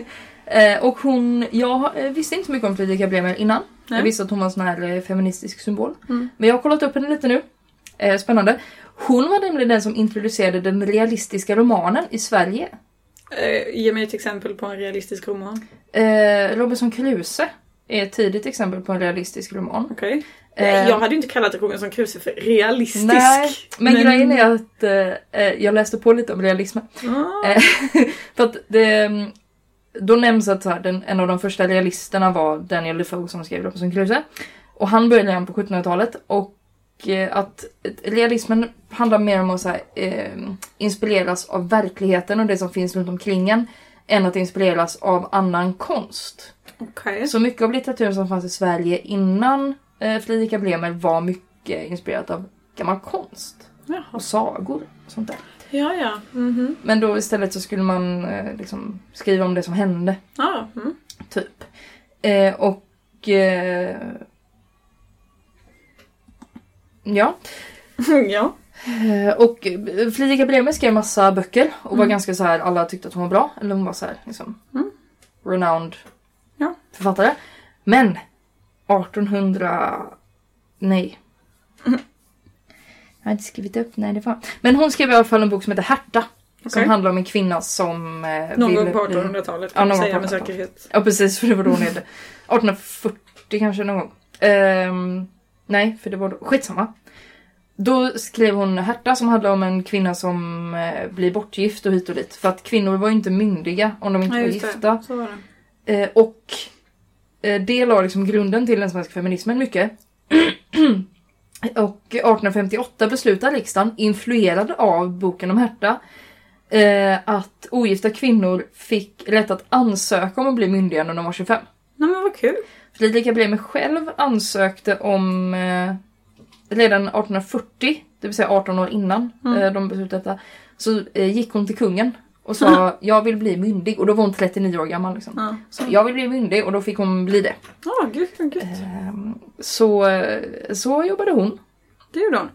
eh, och hon, jag eh, visste inte så mycket om Fredrika Bremer innan. Nej. Jag visste att hon var en sån här eh, feministisk symbol. Mm. Men jag har kollat upp henne lite nu. Eh, spännande. Hon var nämligen den som introducerade den realistiska romanen i Sverige. Eh, ge mig ett exempel på en realistisk roman. Eh, Robinson Crusoe är ett tidigt exempel på en realistisk roman. Okej. Eh, Nej, jag hade ju inte kallat Robinson Crusoe för realistisk. Nej, men, Men- grejen är att eh, eh, jag läste på lite om realismen. Ah, Eh, För att det, mm, då nämns att så här, den, en av de första realisterna var Daniel Defoe som skrev Robinson Crusoe. Och han började redan på 1700-talet och eh, att ett- realismen handlar mer om att så här, eh, inspireras av verkligheten och det som finns runt omkring en än att inspireras av annan konst. Okej. Så mycket av litteraturen som fanns i Sverige innan eh, Fredrika Bremer var mycket inspirerat av gammal konst Jaha. och sagor och sånt där. Ja, ja. Mhm. Men då istället så skulle man eh, liksom skriva om det som hände, Ja, mm. typ. Eh, och... Eh, ja. [laughs] ja. Eh, Och eh, Fredrika Bremer skrev massa böcker och var Mm. ganska så här, alla tyckte att hon var bra. Eller hon var så här, liksom, Mm. renowned Ja. författare. Men 1800... Nej. Jag har inte skrivit upp när det var. Men hon skrev i alla fall en bok som heter Härta. Okej. Som handlar om en kvinna som eh, Någon ville gång på bli- 1800-talet Ja, kan man någon gång säga på med 1800-talet. säkerhet. Ja precis, för det var då hon hette. 1840 kanske någon gång. Ehm, nej, för det var då. Skitsamma. Då skrev hon Herta som handlar om en kvinna som eh, blir bortgift och hit och dit. För att kvinnor var ju inte myndiga om de inte Ja, var just det. gifta. Så var det. Eh, och eh, det la liksom grunden till den svenska feminismen mycket. [clears throat] och 1858 beslutar riksdagen, influerad av boken om Herta, eh, att ogifta kvinnor fick rätt att ansöka om att bli myndiga när de var 25. Nej men vad kul. Fredrika Bremer själv ansökte om eh, redan 1840, det vill säga 18 år innan Mm. eh, de beslutade detta, så eh, gick hon till kungen och sa jag vill bli myndig och då var hon 39 år gammal. Liksom. Ja, Så jag vill bli myndig och då fick hon bli det. ah, gud vad gött. Ehm, Så, eh, så jobbade hon. Det gjorde hon.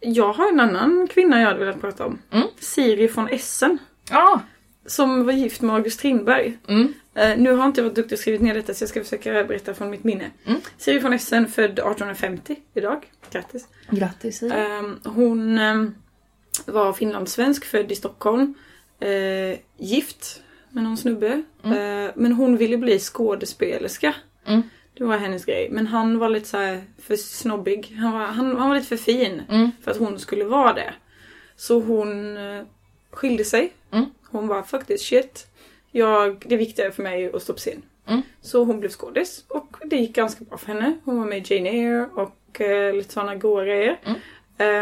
Jag har en annan kvinna jag hade velat prata om. Mm. Siri från Essen. Ja. Som var gift med August Strindberg. Mm. Eh, nu har inte jag varit duktig och skrivit ner detta så jag ska försöka berätta från mitt minne. Mm. Siri von Essen född 1850 idag. Grattis. Grattis Siri. Ehm, hon ehm, var finlandssvensk, född i Stockholm. Eh, gift med någon snubbe. Eh, men hon ville bli skådespelerska. Mm. Det var hennes grej. Men han var lite så här för snobbig. Han var, han, han var lite för fin Mm. för att hon skulle vara det. Så hon eh, skilde sig. Mm. Hon var faktiskt shit. Jag, det viktiga för mig är att stå på scen. Mm. Så hon blev skådis och det gick ganska bra för henne. Hon var med i Jane Eyre och eh, lite sådana goa grejer. Mm.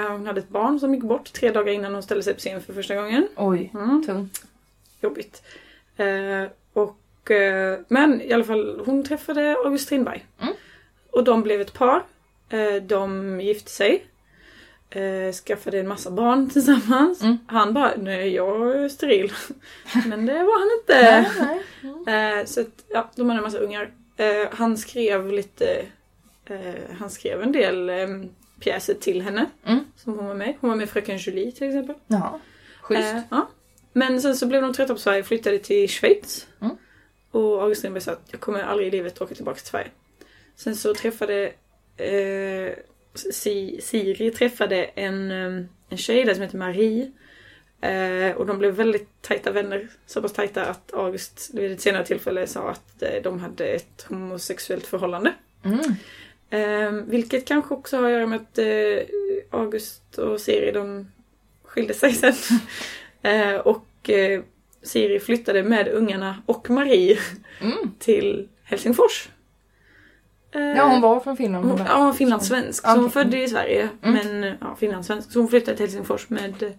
Eh, hon hade ett barn som gick bort tre dagar innan hon ställde sig på scen för första gången. Oj, Mm tungt. jobbigt. Eh, och, eh, men i alla fall, hon träffade August Strindberg. Mm. Och de blev ett par. Eh, de gifte sig. Eh, skaffade en massa barn tillsammans. Mm. Han bara, nej jag är steril. [laughs] men det var han Nej, inte. Äh, nej. Eh, så att, ja, de hade en massa ungar. Eh, han skrev lite, eh, han skrev en del eh, pjäser till henne. Mm. Som hon var med i. Hon var med i Fröken Julie till exempel. Jaha. Schysst. Eh, ja. Men sen så blev de trötta på Sverige och flyttade till Schweiz. Mm. Och August Strindberg sa att jag kommer aldrig i livet åka tillbaka till Sverige. Sen så träffade eh, si, Siri träffade en, eh, en tjej där som heter Marie. Eh, och de blev väldigt tajta vänner. Så pass tajta att August vid ett senare tillfälle sa att eh, de hade ett homosexuellt förhållande. Mm. Eh, vilket kanske också har att göra med att eh, [laughs] August Ehm, och Siri de skilde sig sen. eh, och eh, Siri flyttade med ungarna och Marie Mm. till Helsingfors. Eh, Ja, hon var från Finland. hon- hon där. ja, hon var finlandssvensk. Så Okej. Mm. hon födde i Sverige, men ja, finlandssvensk. Så hon flyttade till Helsingfors med eh,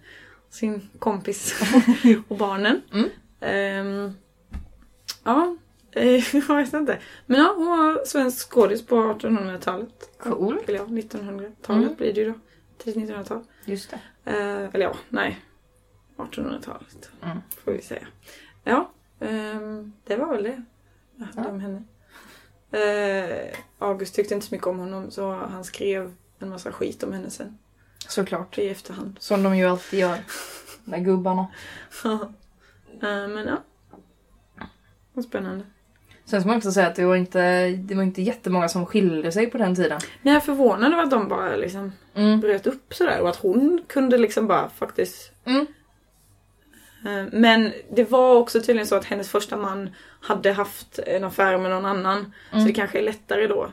sin [laughs] kompis och barnen. Mm. Ehm, ja, [laughs] eh, jag vet inte. Men ja, hon var svensk skådis på 1800-talet. Cool. Eller ja, 1900-talet Mm. blir det ju då. Tidigt 1900-tal. Just det. Eh, eller ja, nej. 1800-talet. Mm. Får vi säga. Ja, ehm, det var väl det. Jag hade Ja. om henne. Eh, August tyckte inte så mycket om honom så han skrev en massa skit om henne sen. Såklart. I efterhand. [laughs] Som de ju alltid gör. De där gubbarna. Eh, men ja. Vad spännande. Sen ska man också säga att det var inte, det var inte jättemånga som skilde sig på den tiden. Men jag är förvånad över att de bara liksom Mm. bröt upp sådär och att hon kunde liksom bara faktiskt Mm. Eh, Men det var också tydligen så att hennes första man hade haft en affär med någon annan. Så Mm. det kanske är lättare då.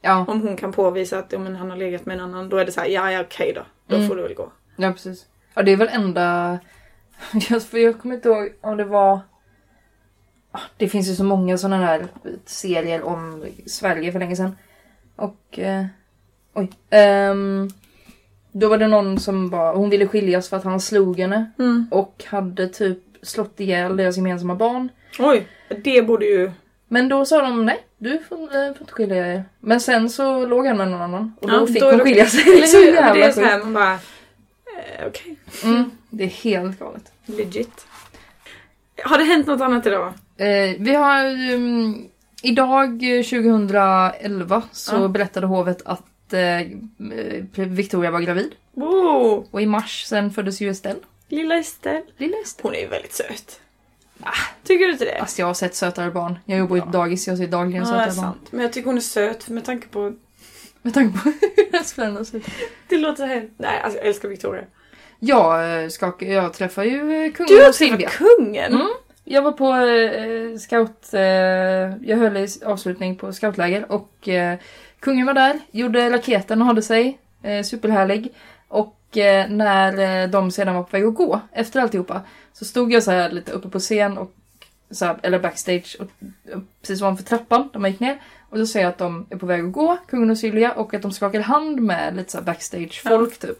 Ja, Om hon kan påvisa att ja, men han har legat med en annan. Då är det så här, ja, ja okej då. Då Mm. får du väl gå. ja precis. Ja, det är väl enda... [laughs] Just för jag kommer inte ihåg om det var... Ah, Det finns ju så många sådana här serier om Sverige för länge sedan. Och... Eh, oj. Ehm, då var det någon som bara... Hon ville skiljas för att han slog henne. Och hade typ slått ihjäl deras gemensamma barn. Oj, det [laughs] borde ju... Men då sa de nej, du får, eh, får inte skilja er. Men sen så låg han med någon annan och då Ja, fick då är hon det- skilja sig. Eller Så hur? Men Det jävla är så sjukt. här, man bara... Eh, okej, Mm, det är helt galet. legit. Har det hänt något annat idag? Eh, vi har ju, mm, idag eh, 2011 så Ja. berättade hovet att eh, eh, Victoria var gravid. Wow, Och i mars sen föddes ju Estelle. lilla Estelle. Lilla Estelle. Hon är ju väldigt söt. Ah, Tycker du inte det? Alltså jag har sett sötare barn. Jag jobbar ju på dagis, jag ser dagligen Ja, det är sötare barn. sant. Men jag tycker hon är söt med tanke på... Med tanke på [laughs] hur deras föräldrar ser ut. Det låter helt... Nej, alltså, jag älskar Victoria. Jag, eh, skakar- jag träffar ju eh, Du kungen har och Silvia. träffat kungen! Mm. Jag var på eh, scout... Eh, jag höll i avslutning på scoutläger och eh, kungen var där, gjorde raketen och hade sig. Eh, superhärlig. Och eh, när eh, de sedan var på väg att gå, efter alltihopa, så stod jag så här lite uppe på scen och så här, eller backstage, och, och precis ovanför trappan där man gick ner. Och då ser jag att de är på väg att gå, kungen och Sylvia, och att de skakar hand med lite så här backstage-folk typ.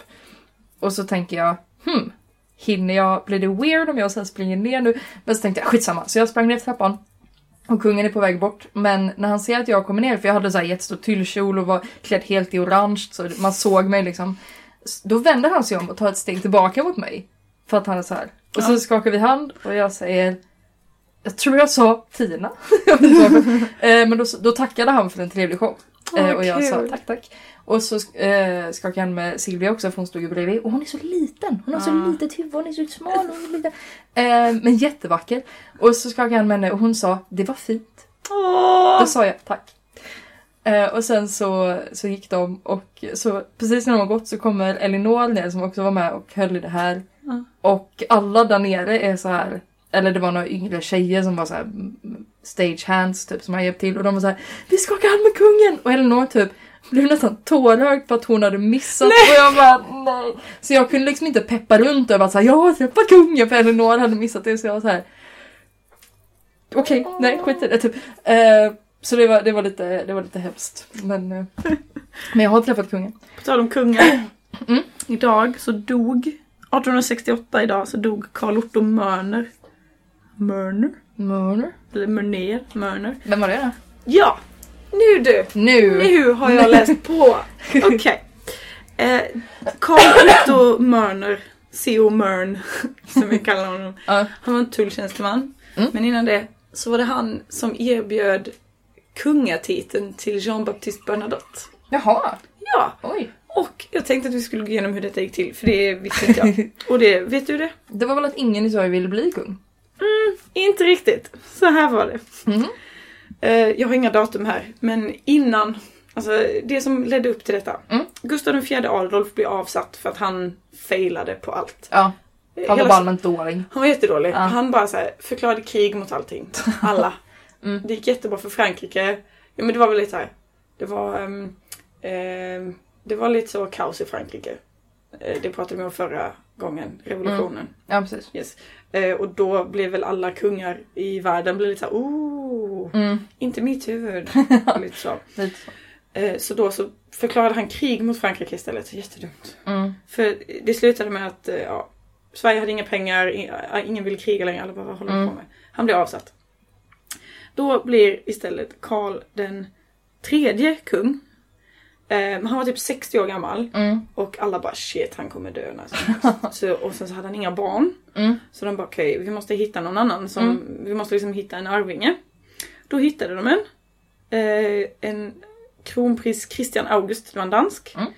Och så tänker jag, hmm, hinner jag, blir det weird om jag sen springer ner nu? Men så tänkte jag, skitsamma. Så jag sprang ner för trappan. Och kungen är på väg bort, men när han ser att jag kommer ner, för jag hade så här jättestor tyllkjol och var klädd helt i orange, så man såg mig liksom. S- Då vänder han sig om och tar ett steg tillbaka mot mig. För att han är så här. Och så Ja. skakar vi hand och jag säger, jag tror jag sa Tina. [laughs] Jag vet inte varför. Eh, men då, s- då tackade han för en trevlig show. Åh, Eh, och jag sa kul. tack, tack. Och så sk- eh, skakade han med Silvia också för hon stod ju bredvid. Och hon är så liten. Hon har Ah. så litet huvud, hon är så smal. Hon är liten. Eh, men jättevacker. Och så skakade han med henne och hon sa det var fint. Åh! Då sa jag tack. Eh, och sen så, så gick de och så precis när de har gått så kommer Elinor ner som också var med och höll i det här. Ja. Och alla där nere är så här eller det var några yngre tjejer som var så här mm, stagehands typ som har hjälpt till och de var så här vi skakar hand med kungen och Elinor typ blev nästan tårögd för att hon hade missat och jag bara nej. Så jag kunde liksom inte peppa runt över att så här, jag har träffat kungen för Elinor hade missat det så jag var så här okej, nej skit i det typ. Eh, så det var, det, var lite, det var lite hemskt. Men, eh, [laughs] men jag har träffat kungen. På tal om kungar. [clears throat] Mm. Idag så dog, 1868 idag, så dog Karl Otto Mörner. Mörner? Mörner. Eller Mörner? Mörner. Vem var det Ja! Nu du! då? Nu! Nu har jag [laughs] läst på! Okej. Eh, Karl Otto Mörner, C.O. Mörn, [laughs] som vi kallar honom. Ja. Han var en tulltjänsteman. Mm. Men innan det så var det han som erbjöd kungatiteln till Jean-Baptiste Bernadotte. Jaha, Ja! oj. Och jag tänkte att vi skulle gå igenom hur detta gick till, för det visste inte jag. Och det, vet du det? [laughs] Det var väl att ingen i Sverige ville bli kung? Inte riktigt. Så här var det. Mhm. Eh, jag har inga datum här, men innan, alltså det som ledde upp till detta. Mm. Gustav IV Adolf blev avsatt för att han failade på allt. Eh, Ja, han var Hela- bara allmänt dålig. han var jättedålig. Ja. Han bara så här, förklarade krig [laughs] mot allting. Alla. Mm. Det gick jättebra för Frankrike. Ja, men det var väl lite så här. Det var, ehm, ehm, det var lite så kaos i Frankrike. Eh, Det pratade vi om förra gången, revolutionen. Ja, precis. Yes. Eh, och då blev väl alla kungar i världen blev lite såhär oh, Mm, inte [laughs] mitt huvud. lite så. lite så. Eh, så då så förklarade han krig mot Frankrike istället. Jättedumt. Mm, För det slutade med att eh, ja, Sverige hade inga pengar, i- eh, ingen ville kriga längre, alla bara vad håller du på Mm. med? Han blir avsatt. Då blir istället Karl den tredje kung. Eh, men han var typ 60 år gammal mm, och alla bara shit han kommer dö [laughs] när som helst. så, Och sen så hade han inga barn. mm, Så de bara okej, vi måste hitta någon annan som, vi måste liksom hitta en arvinge. Då hittade de en. Eh, en kronprins Christian August, det var en dansk. Mm.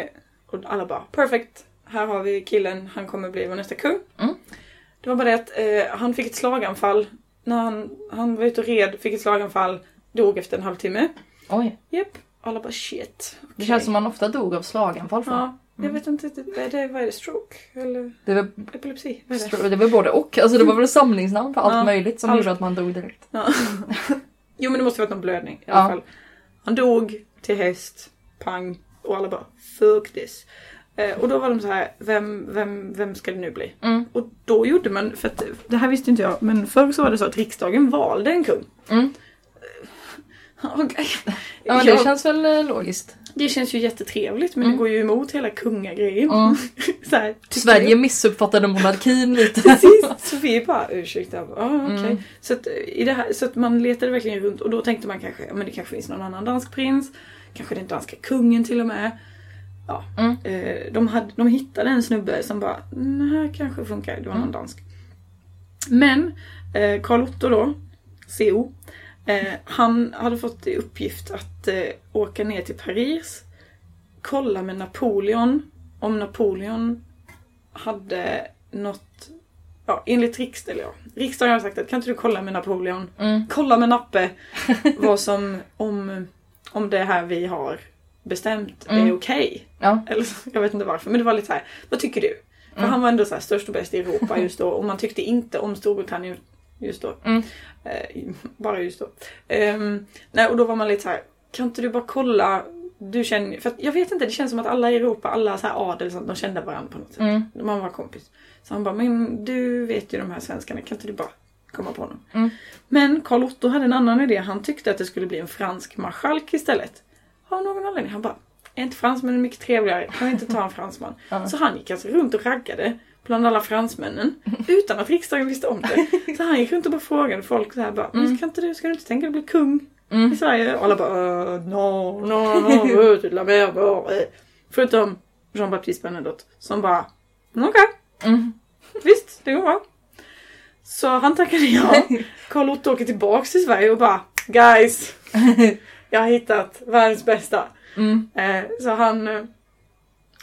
Eh, och alla bara perfekt, här har vi killen, han kommer bli vår nästa kung. Mm. Det var bara det att eh, han fick ett slaganfall. När han, han var ute och red, fick ett slaganfall, dog efter en halvtimme. Oj. Japp, alla bara shit. Det okej. känns som Mm. man ofta dog av slaganfall. fan. Ja, jag vet inte riktigt, vad är det, vad är det stroke? Eller Det var, epilepsi? Vad är det? det var både och. Alltså det var väl samlingsnamn på allt Ja, möjligt som allt. gjorde att man dog direkt. [laughs] Jo men det måste varit någon blödning i alla Ja. fall. Han dog till häst, pang och alla bara fuck this. Eh, och då var de så här, vem, vem, vem ska det nu bli? Mm. Och då gjorde man, för att det här visste inte jag, men förr så var det så att riksdagen valde en kung. [laughs] Mm. Okej. Ja, men det känns väl eh, logiskt. det känns ju jättetrevligt men det Mm. går ju emot hela kungagrejen. Mm. Så här, tycker jag. Sverige missuppfattade monarkin lite. Precis, så vi är bara ursäkta. Ah, okej. Mm. Så, att, eh, i det här, så att man letade verkligen runt och då tänkte man kanske, ja men det kanske finns någon annan dansk prins. Kanske den danska kungen till och med. Ja, Mm. eh, de, hade, de hittade en snubbe som bara, den här kanske funkar, det var någon Mm. dansk. Men eh, Karl Otto då, CO, eh, han hade fått i uppgift att eh, åka ner till Paris, kolla med Napoleon om Napoleon hade något, ja enligt riks, eller ja, riksdagen har sagt att kan inte du kolla med Napoleon, Mm. kolla [laughs] med Nappe vad som, om, om det här vi har bestämt är Mm. okej. Ja. Eller så, jag vet inte varför, men det var lite så här, vad tycker du? För Mm. han var ändå så här störst och bäst [laughs] i Europa just då och man tyckte inte om Storbritannien just då. Mm. Eh, bara just då. Ehm, nej, och då var man lite så här, kan inte du bara kolla? Du känner, för att, jag vet inte, det känns som att alla i Europa, alla så här adel, och sånt, de kände varandra på något sätt. Mm. Man var kompis. Så han bara, men du vet ju de här svenskarna, kan inte du bara komma på någon? Mm. Men Karl Otto hade en annan idé. Han tyckte att det skulle bli en fransk marskalk istället. Av någon anledning. Han bara, är inte fransmännen mycket trevligare? Kan vi inte ta en fransman? Ja. Så han gick alltså runt och raggade bland alla fransmännen utan att riksdagen visste om det. Så han gick runt och bara frågade folk så här bara, men ska inte du, ska du inte tänka dig att bli kung i Mm. Sverige? Och alla bara, "Eh, no, no, no, eh, tu la mer, bon, eh." Förutom Jean-Baptiste Bernadotte som bara, "Mm, okej. Mm. Visst, det går bra. Så han tackade ja. [laughs] Karl Otto åker tillbaks till Sverige och bara [laughs] Guys! Jag har hittat världens bästa. Mm. Eh, så han... eh,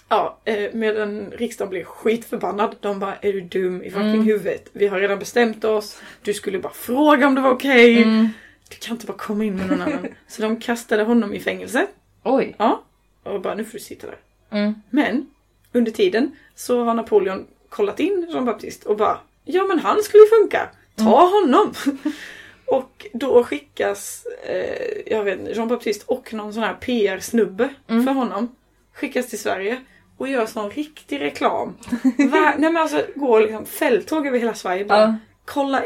Ja, eh, medan riksdagen blev skitförbannad. De bara Är du dum i fucking Mm. huvudet? Vi har redan bestämt oss. Du skulle bara fråga om det var okej. Mm. Du kan inte bara komma in med någon annan. Så de kastade honom i fängelse. Oj. Ja. Och bara nu får du sitta där. Mm. Men under tiden så har Napoleon kollat in Jean Baptiste och bara Ja men han skulle ju funka! Ta Mm. [laughs] honom! och då skickas eh, jag vet inte, Jean Baptiste och någon sån här PR-snubbe Mm. för honom skickas till Sverige och gör sån riktig reklam. [laughs] Va? Nej men alltså går liksom fälttåg över hela Sverige bara Ja. Kolla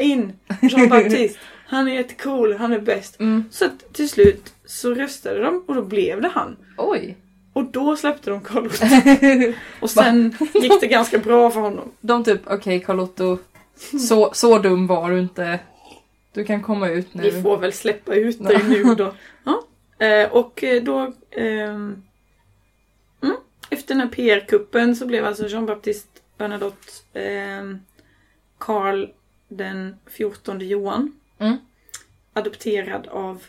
[laughs] in Jean Baptiste! Han är jättecool, han är bäst. Mm. Så att till slut så röstade de och då blev det han. Oj. Och då släppte de [laughs] Carl Otto. Och sen gick det ganska bra för honom. De typ, okej Karl Otto, så, så dum var du inte. Du kan komma ut nu. Vi får väl släppa ut dig nu då. Ja. Eh, Och eh, då... ehm, mm, Efter den här PR-kuppen så blev alltså Jean-Baptiste Bernadotte ehm, Karl den 14 Johan. Mm. Adopterad av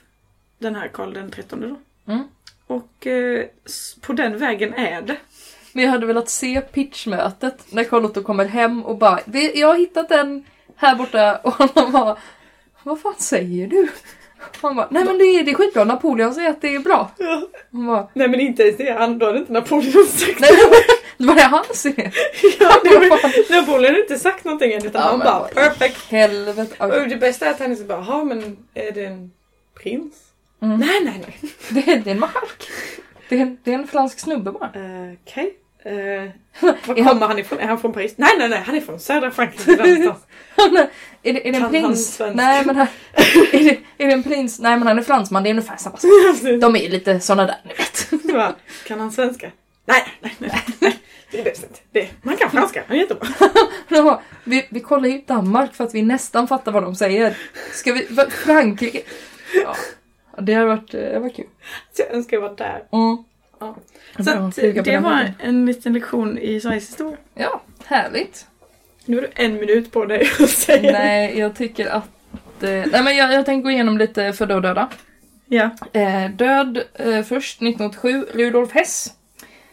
den här Karl den 13 då. Mm. Och eh, s- på den vägen är det. Men jag hade velat se pitchmötet när Carl Otto kommer hem och bara "Vi- Jag har hittat en här borta [laughs] och han bara Vad fan säger du? Och Han bara Nej men det är, det är skitbra, Napoleon säger att det är bra. Hon bara Nej men inte ens det, han då hade inte Napoleon sagt Nej det var- det var det han säger. [laughs] Ja, det var, Napoleon har inte sagt någonting än utan Ja, han men bara vad i- perfekt. Helvete. okej. Och det bästa är att han inte bara, jaha men är det en prins? Mm. Nej, nej, nej. Det, är- det är en marskalk. Det är, en- det är en fransk snubbe bara. Eh, Okej. [laughs] Eh, var kommer han ifrån? Är han från Paris? Nej, nej, nej, han är från södra Frankrike där [laughs] någonstans. är det, är det Kan en han prins? svenska? Nej men han, är, det, är det en prins? Nej men han är fransman, det är ungefär samma sak. De är ju lite såna där ni vet. [laughs] [laughs] Så bara, kan han svenska? Nej, nej, nej. nej. Det är bäst inte. Det. Man kan franska, han är jättebra. [laughs] Ja, vi, vi kollar ju Danmark för att vi nästan fattar vad de säger. Ska vi... va- Frankrike? Ja. Ja, Det har varit... eh, Det var kul. Så jag önskar jag var där. Mm. Ja. Så Bra, att, flyga på det den var vägen. en liten lektion i Sveriges historia. Ja, härligt. Nu har du en minut på dig att säga. Nej, jag tycker att... eh, Nej men jag, jag tänker gå igenom lite födda och döda. Ja, Eh, död eh, först 1987, Rudolf Hess.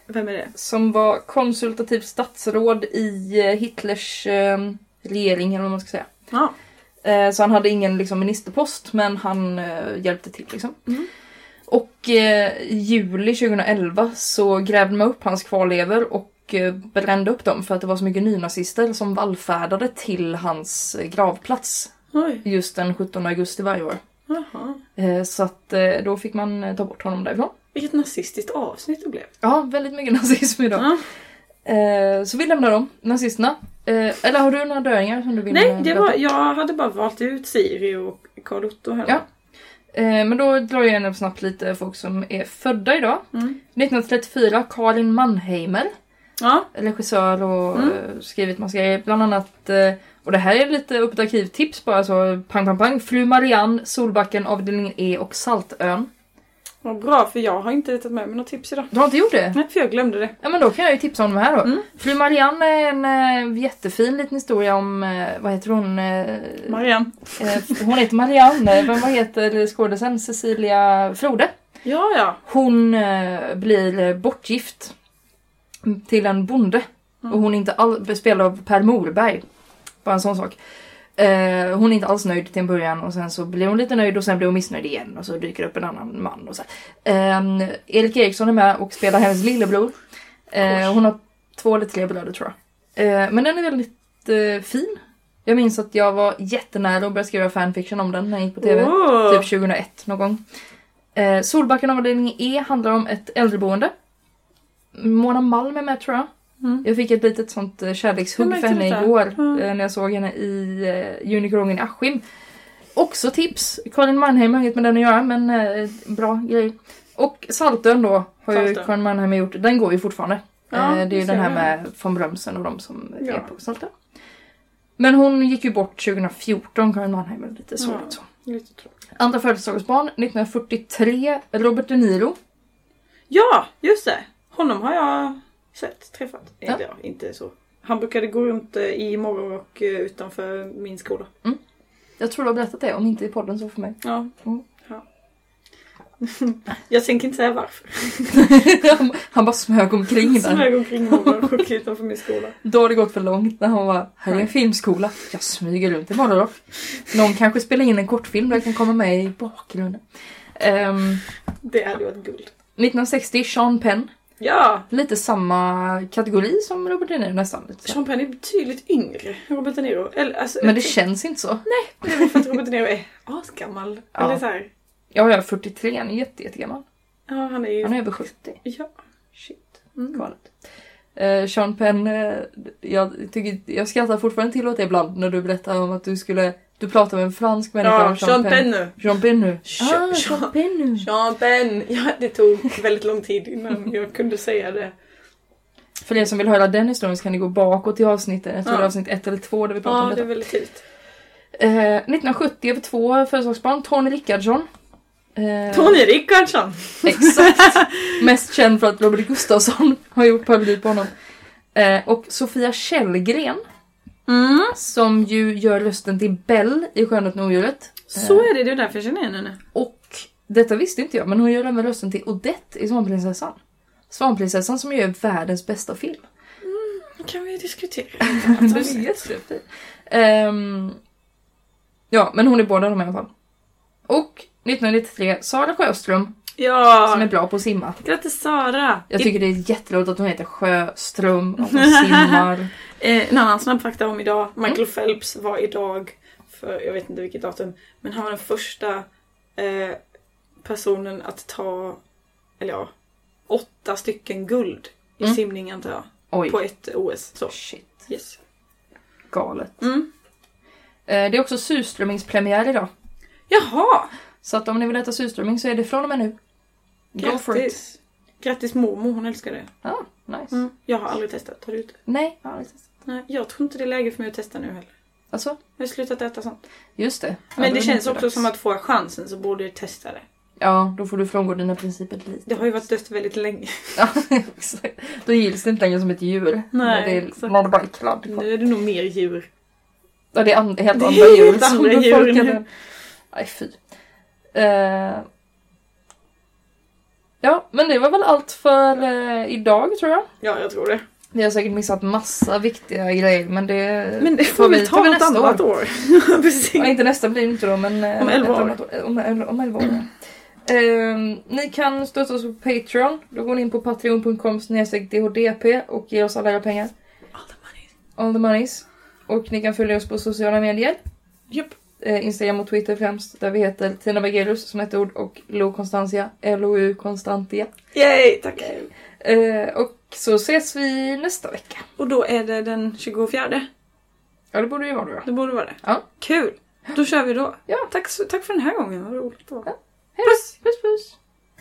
vem är det? Som var konsultativ statsråd i eh, Hitlers eh, regering eller vad man ska säga. Ja. Eh, Så han hade ingen liksom, ministerpost men han eh, hjälpte till liksom. Mm. Och eh, i juli 2011 så grävde man upp hans kvarlevor och eh, brände upp dem för att det var så mycket nynazister som vallfärdade till hans eh, gravplats Oj, just den 17 augusti varje år. jaha. Eh, Så att eh, då fick man eh, ta bort honom därifrån. Vilket nazistiskt avsnitt det blev. Ja, väldigt mycket [laughs] nazism idag. Ja. Eh, Så vi lämnar dem, nazisterna. Eh, Eller har du några döingar som du vill eh, Nej, det berätta? var, jag hade bara valt ut Siri och Karl Otto här. Ja. Eh, Men då drar jag igenom snabbt lite folk som är födda idag. Mm. 1934, Karin Mannheimer, ja. regissör och Mm. eh, skrivit massa grejer. Bland annat, eh, och det här är lite upp ett arkivtips bara så pang pang pang. Fru Marianne, Solbacken, avdelningen E och Saltön. Vad bra, för jag har inte tagit med mig några tips idag. Du har inte gjort det? Nej, för jag glömde det. Ja men då kan jag ju tipsa om de här då. Mm. Fru Marianne är en eh, jättefin liten historia om, eh, vad heter hon? Eh, Marianne. eh, hon heter Marianne, men vad heter skådisen? Cecilia Frode. Ja, ja. Hon eh, blir eh, bortgift till en bonde. Mm. Och hon är inte all, spelad av Per Morberg. Bara en sån sak. Eh, hon är inte alls nöjd till en början och sen så blir hon lite nöjd och sen blir hon missnöjd igen och så dyker det upp en annan man. Och så. här. Eh, Erik Eriksson är med och spelar hennes lillebror. Eh, hon har två eller tre bröder tror jag. Eh, men den är väldigt eh, fin. Jag minns att jag var jättenära och började skriva fanfiction om den när jag gick på TV. Åh. Typ 2001 någon gång. Eh, Solbacken avdelning E handlar om ett äldreboende. Mona Malm är med tror jag. Mm. Jag fick ett litet sånt eh, Jag kärlekshugg märkte för henne detta. igår Mm. eh, när jag såg henne i eh, Unikorngen i Askim. Också tips! Karin Mannheim har inget med den att göra men eh, bra grej. Och Saltön då har ju Saltön. Karin Mannheim gjort. Den går ju fortfarande. Ja, eh, det är ju det den här ser jag. med von Brömsen och de som är Ja. på Saltön. Men hon gick ju bort 2014, Karin Mannheim, och lite sorgligt Ja. så. Lite tråkigt. Andra födelsedagsbarn 1943, Robert De Niro. Ja, just det. Honom har jag sett, träffat. Ja. Eller ja, inte så. Han brukade gå runt eh, i morgon och eh, utanför min skola. Jag tror du har berättat det, om inte i podden så för mig. Ja. Mm. ja. [laughs] jag tänker inte säga varför. Han- han bara smög omkring Som där. jag går omkring i morgon och utanför min skola. Då har det gått för långt när han var här är en filmskola. Jag smyger runt i morgonrock. Någon kanske spelar in en kortfilm där jag kan komma med i bakgrunden. Ehm, Det hade ju varit guld. 1960, Sean Penn. Ja! Lite samma kategori som Robert De Niro nästan. Lite så. Sean Penn är betydligt yngre än Robert De Niro. Eller, alltså, Men det känns inte så. det är väl för att Robert De Niro är [laughs] asgammal. Ja. Eller så här. Ja, jag är 43, han är jätte, jättegammal. Ja, han är ju... Han är över 70. Ja. Shit. Mm. galet. Eh, Sean Penn, eh, jag, tycker, jag skrattar fortfarande till åt det ibland när du berättar om att du skulle, du pratar med en fransk människa Ja, om Sean Penn nu. Sean Penn nu. Sean- Ah, Sean Penn nu. Sean Penn! Ja, det tog väldigt lång tid innan jag kunde säga det. För er som vill höra den historien så kan ni gå bakåt i avsnitten. Jag tror Ja. det är avsnitt ett eller två där vi pratar Ja, om det detta. är väldigt tidigt. Eh, 1970 över två födelsedagsbarn, Tony Rickardsson. Eh, Tony Rickardsson! [laughs] Exakt! Mest känd för att Robert Gustafsson [laughs] har gjort parodi på honom. Eh, och Sofia Källgren, Mm. som ju gör rösten till Bell i Skönheten och odjuret. Så är det, det är därför jag känner igen henne. Och detta visste inte jag, men hon gör även rösten till Odette i Svanprinsessan. Svanprinsessan som ju är världens bästa film. Nu kan vi [laughs] diskutera. Mm. Den är jättefin. Ehm, ja, men hon är båda de i alla fall. Och 1993, Sara Sjöström som är Ja! bra på att simma. Grattis Sara! Jag tycker det är jätteroligt att hon heter Sjöström och hon simmar. [laughs] Eh, en annan snabb fakta om idag. Michael Mm. Phelps var idag, för jag vet inte vilket datum, men han var den första eh, personen att ta, eller ja, åtta stycken guld i i Mm. simning antar jag. Oj, På ett OS. Så. shit. Yes. Galet. Mm. Eh, Det är också surströmmingspremiär idag. Jaha! Så att om ni vill äta surströmming så är det från och med nu. Go for it. Grattis! Mm. Grattis mormor, hon älskar det. Ah, nice. Jag har aldrig testat. Har du gjort det? Nej, jag har aldrig testat. Nej, jag tror inte det är läge för mig att testa nu heller. Alltså, Jag har slutat äta sånt. just det. Ja, Men då det är känns inte också dags. som att får jag chansen så borde jag testa det. Ja, då får du frångå dina principer lite. [laughs] Det har ju varit dött väldigt länge. Ja, exakt. Då gills det inte längre som ett djur. Nej, det är, exakt. man har bara kladd kvar. Nu är det nog mer djur. Ja, det är an- helt Det är andra helt djur som andra djur befolkar nu. den. Nej, fy. Eh, ja, men det var väl allt för eh, idag tror jag. Ja, jag tror det. Vi har säkert missat massa viktiga grejer, men det, Men det får vi ta något annat år. [laughs] Precis. Ja, inte nästa blir det inte då, men eh, Om elva ett år. Mm. annat år. Om, el- om elva år. ja. Ehm, ni kan stötta oss på Patreon. Då går ni in på patreon.com snedstreck DHDP och ger oss alla era pengar. All the money. All the monies. Och ni kan följa oss på sociala medier. Japp. Eh, Instagram och Twitter främst. Där vi heter Tina Bagelius som ett ord och Lo Constantia. LOU Constantia. Yay, tack. Eh, och så ses vi nästa vecka. Och då är det den 24. Ja, det borde ju vara då. Det borde vara det. Ja. Kul! Då kör vi då. Ja. Tack, så- tack för den här gången, vad roligt det var. Puss! Puss puss!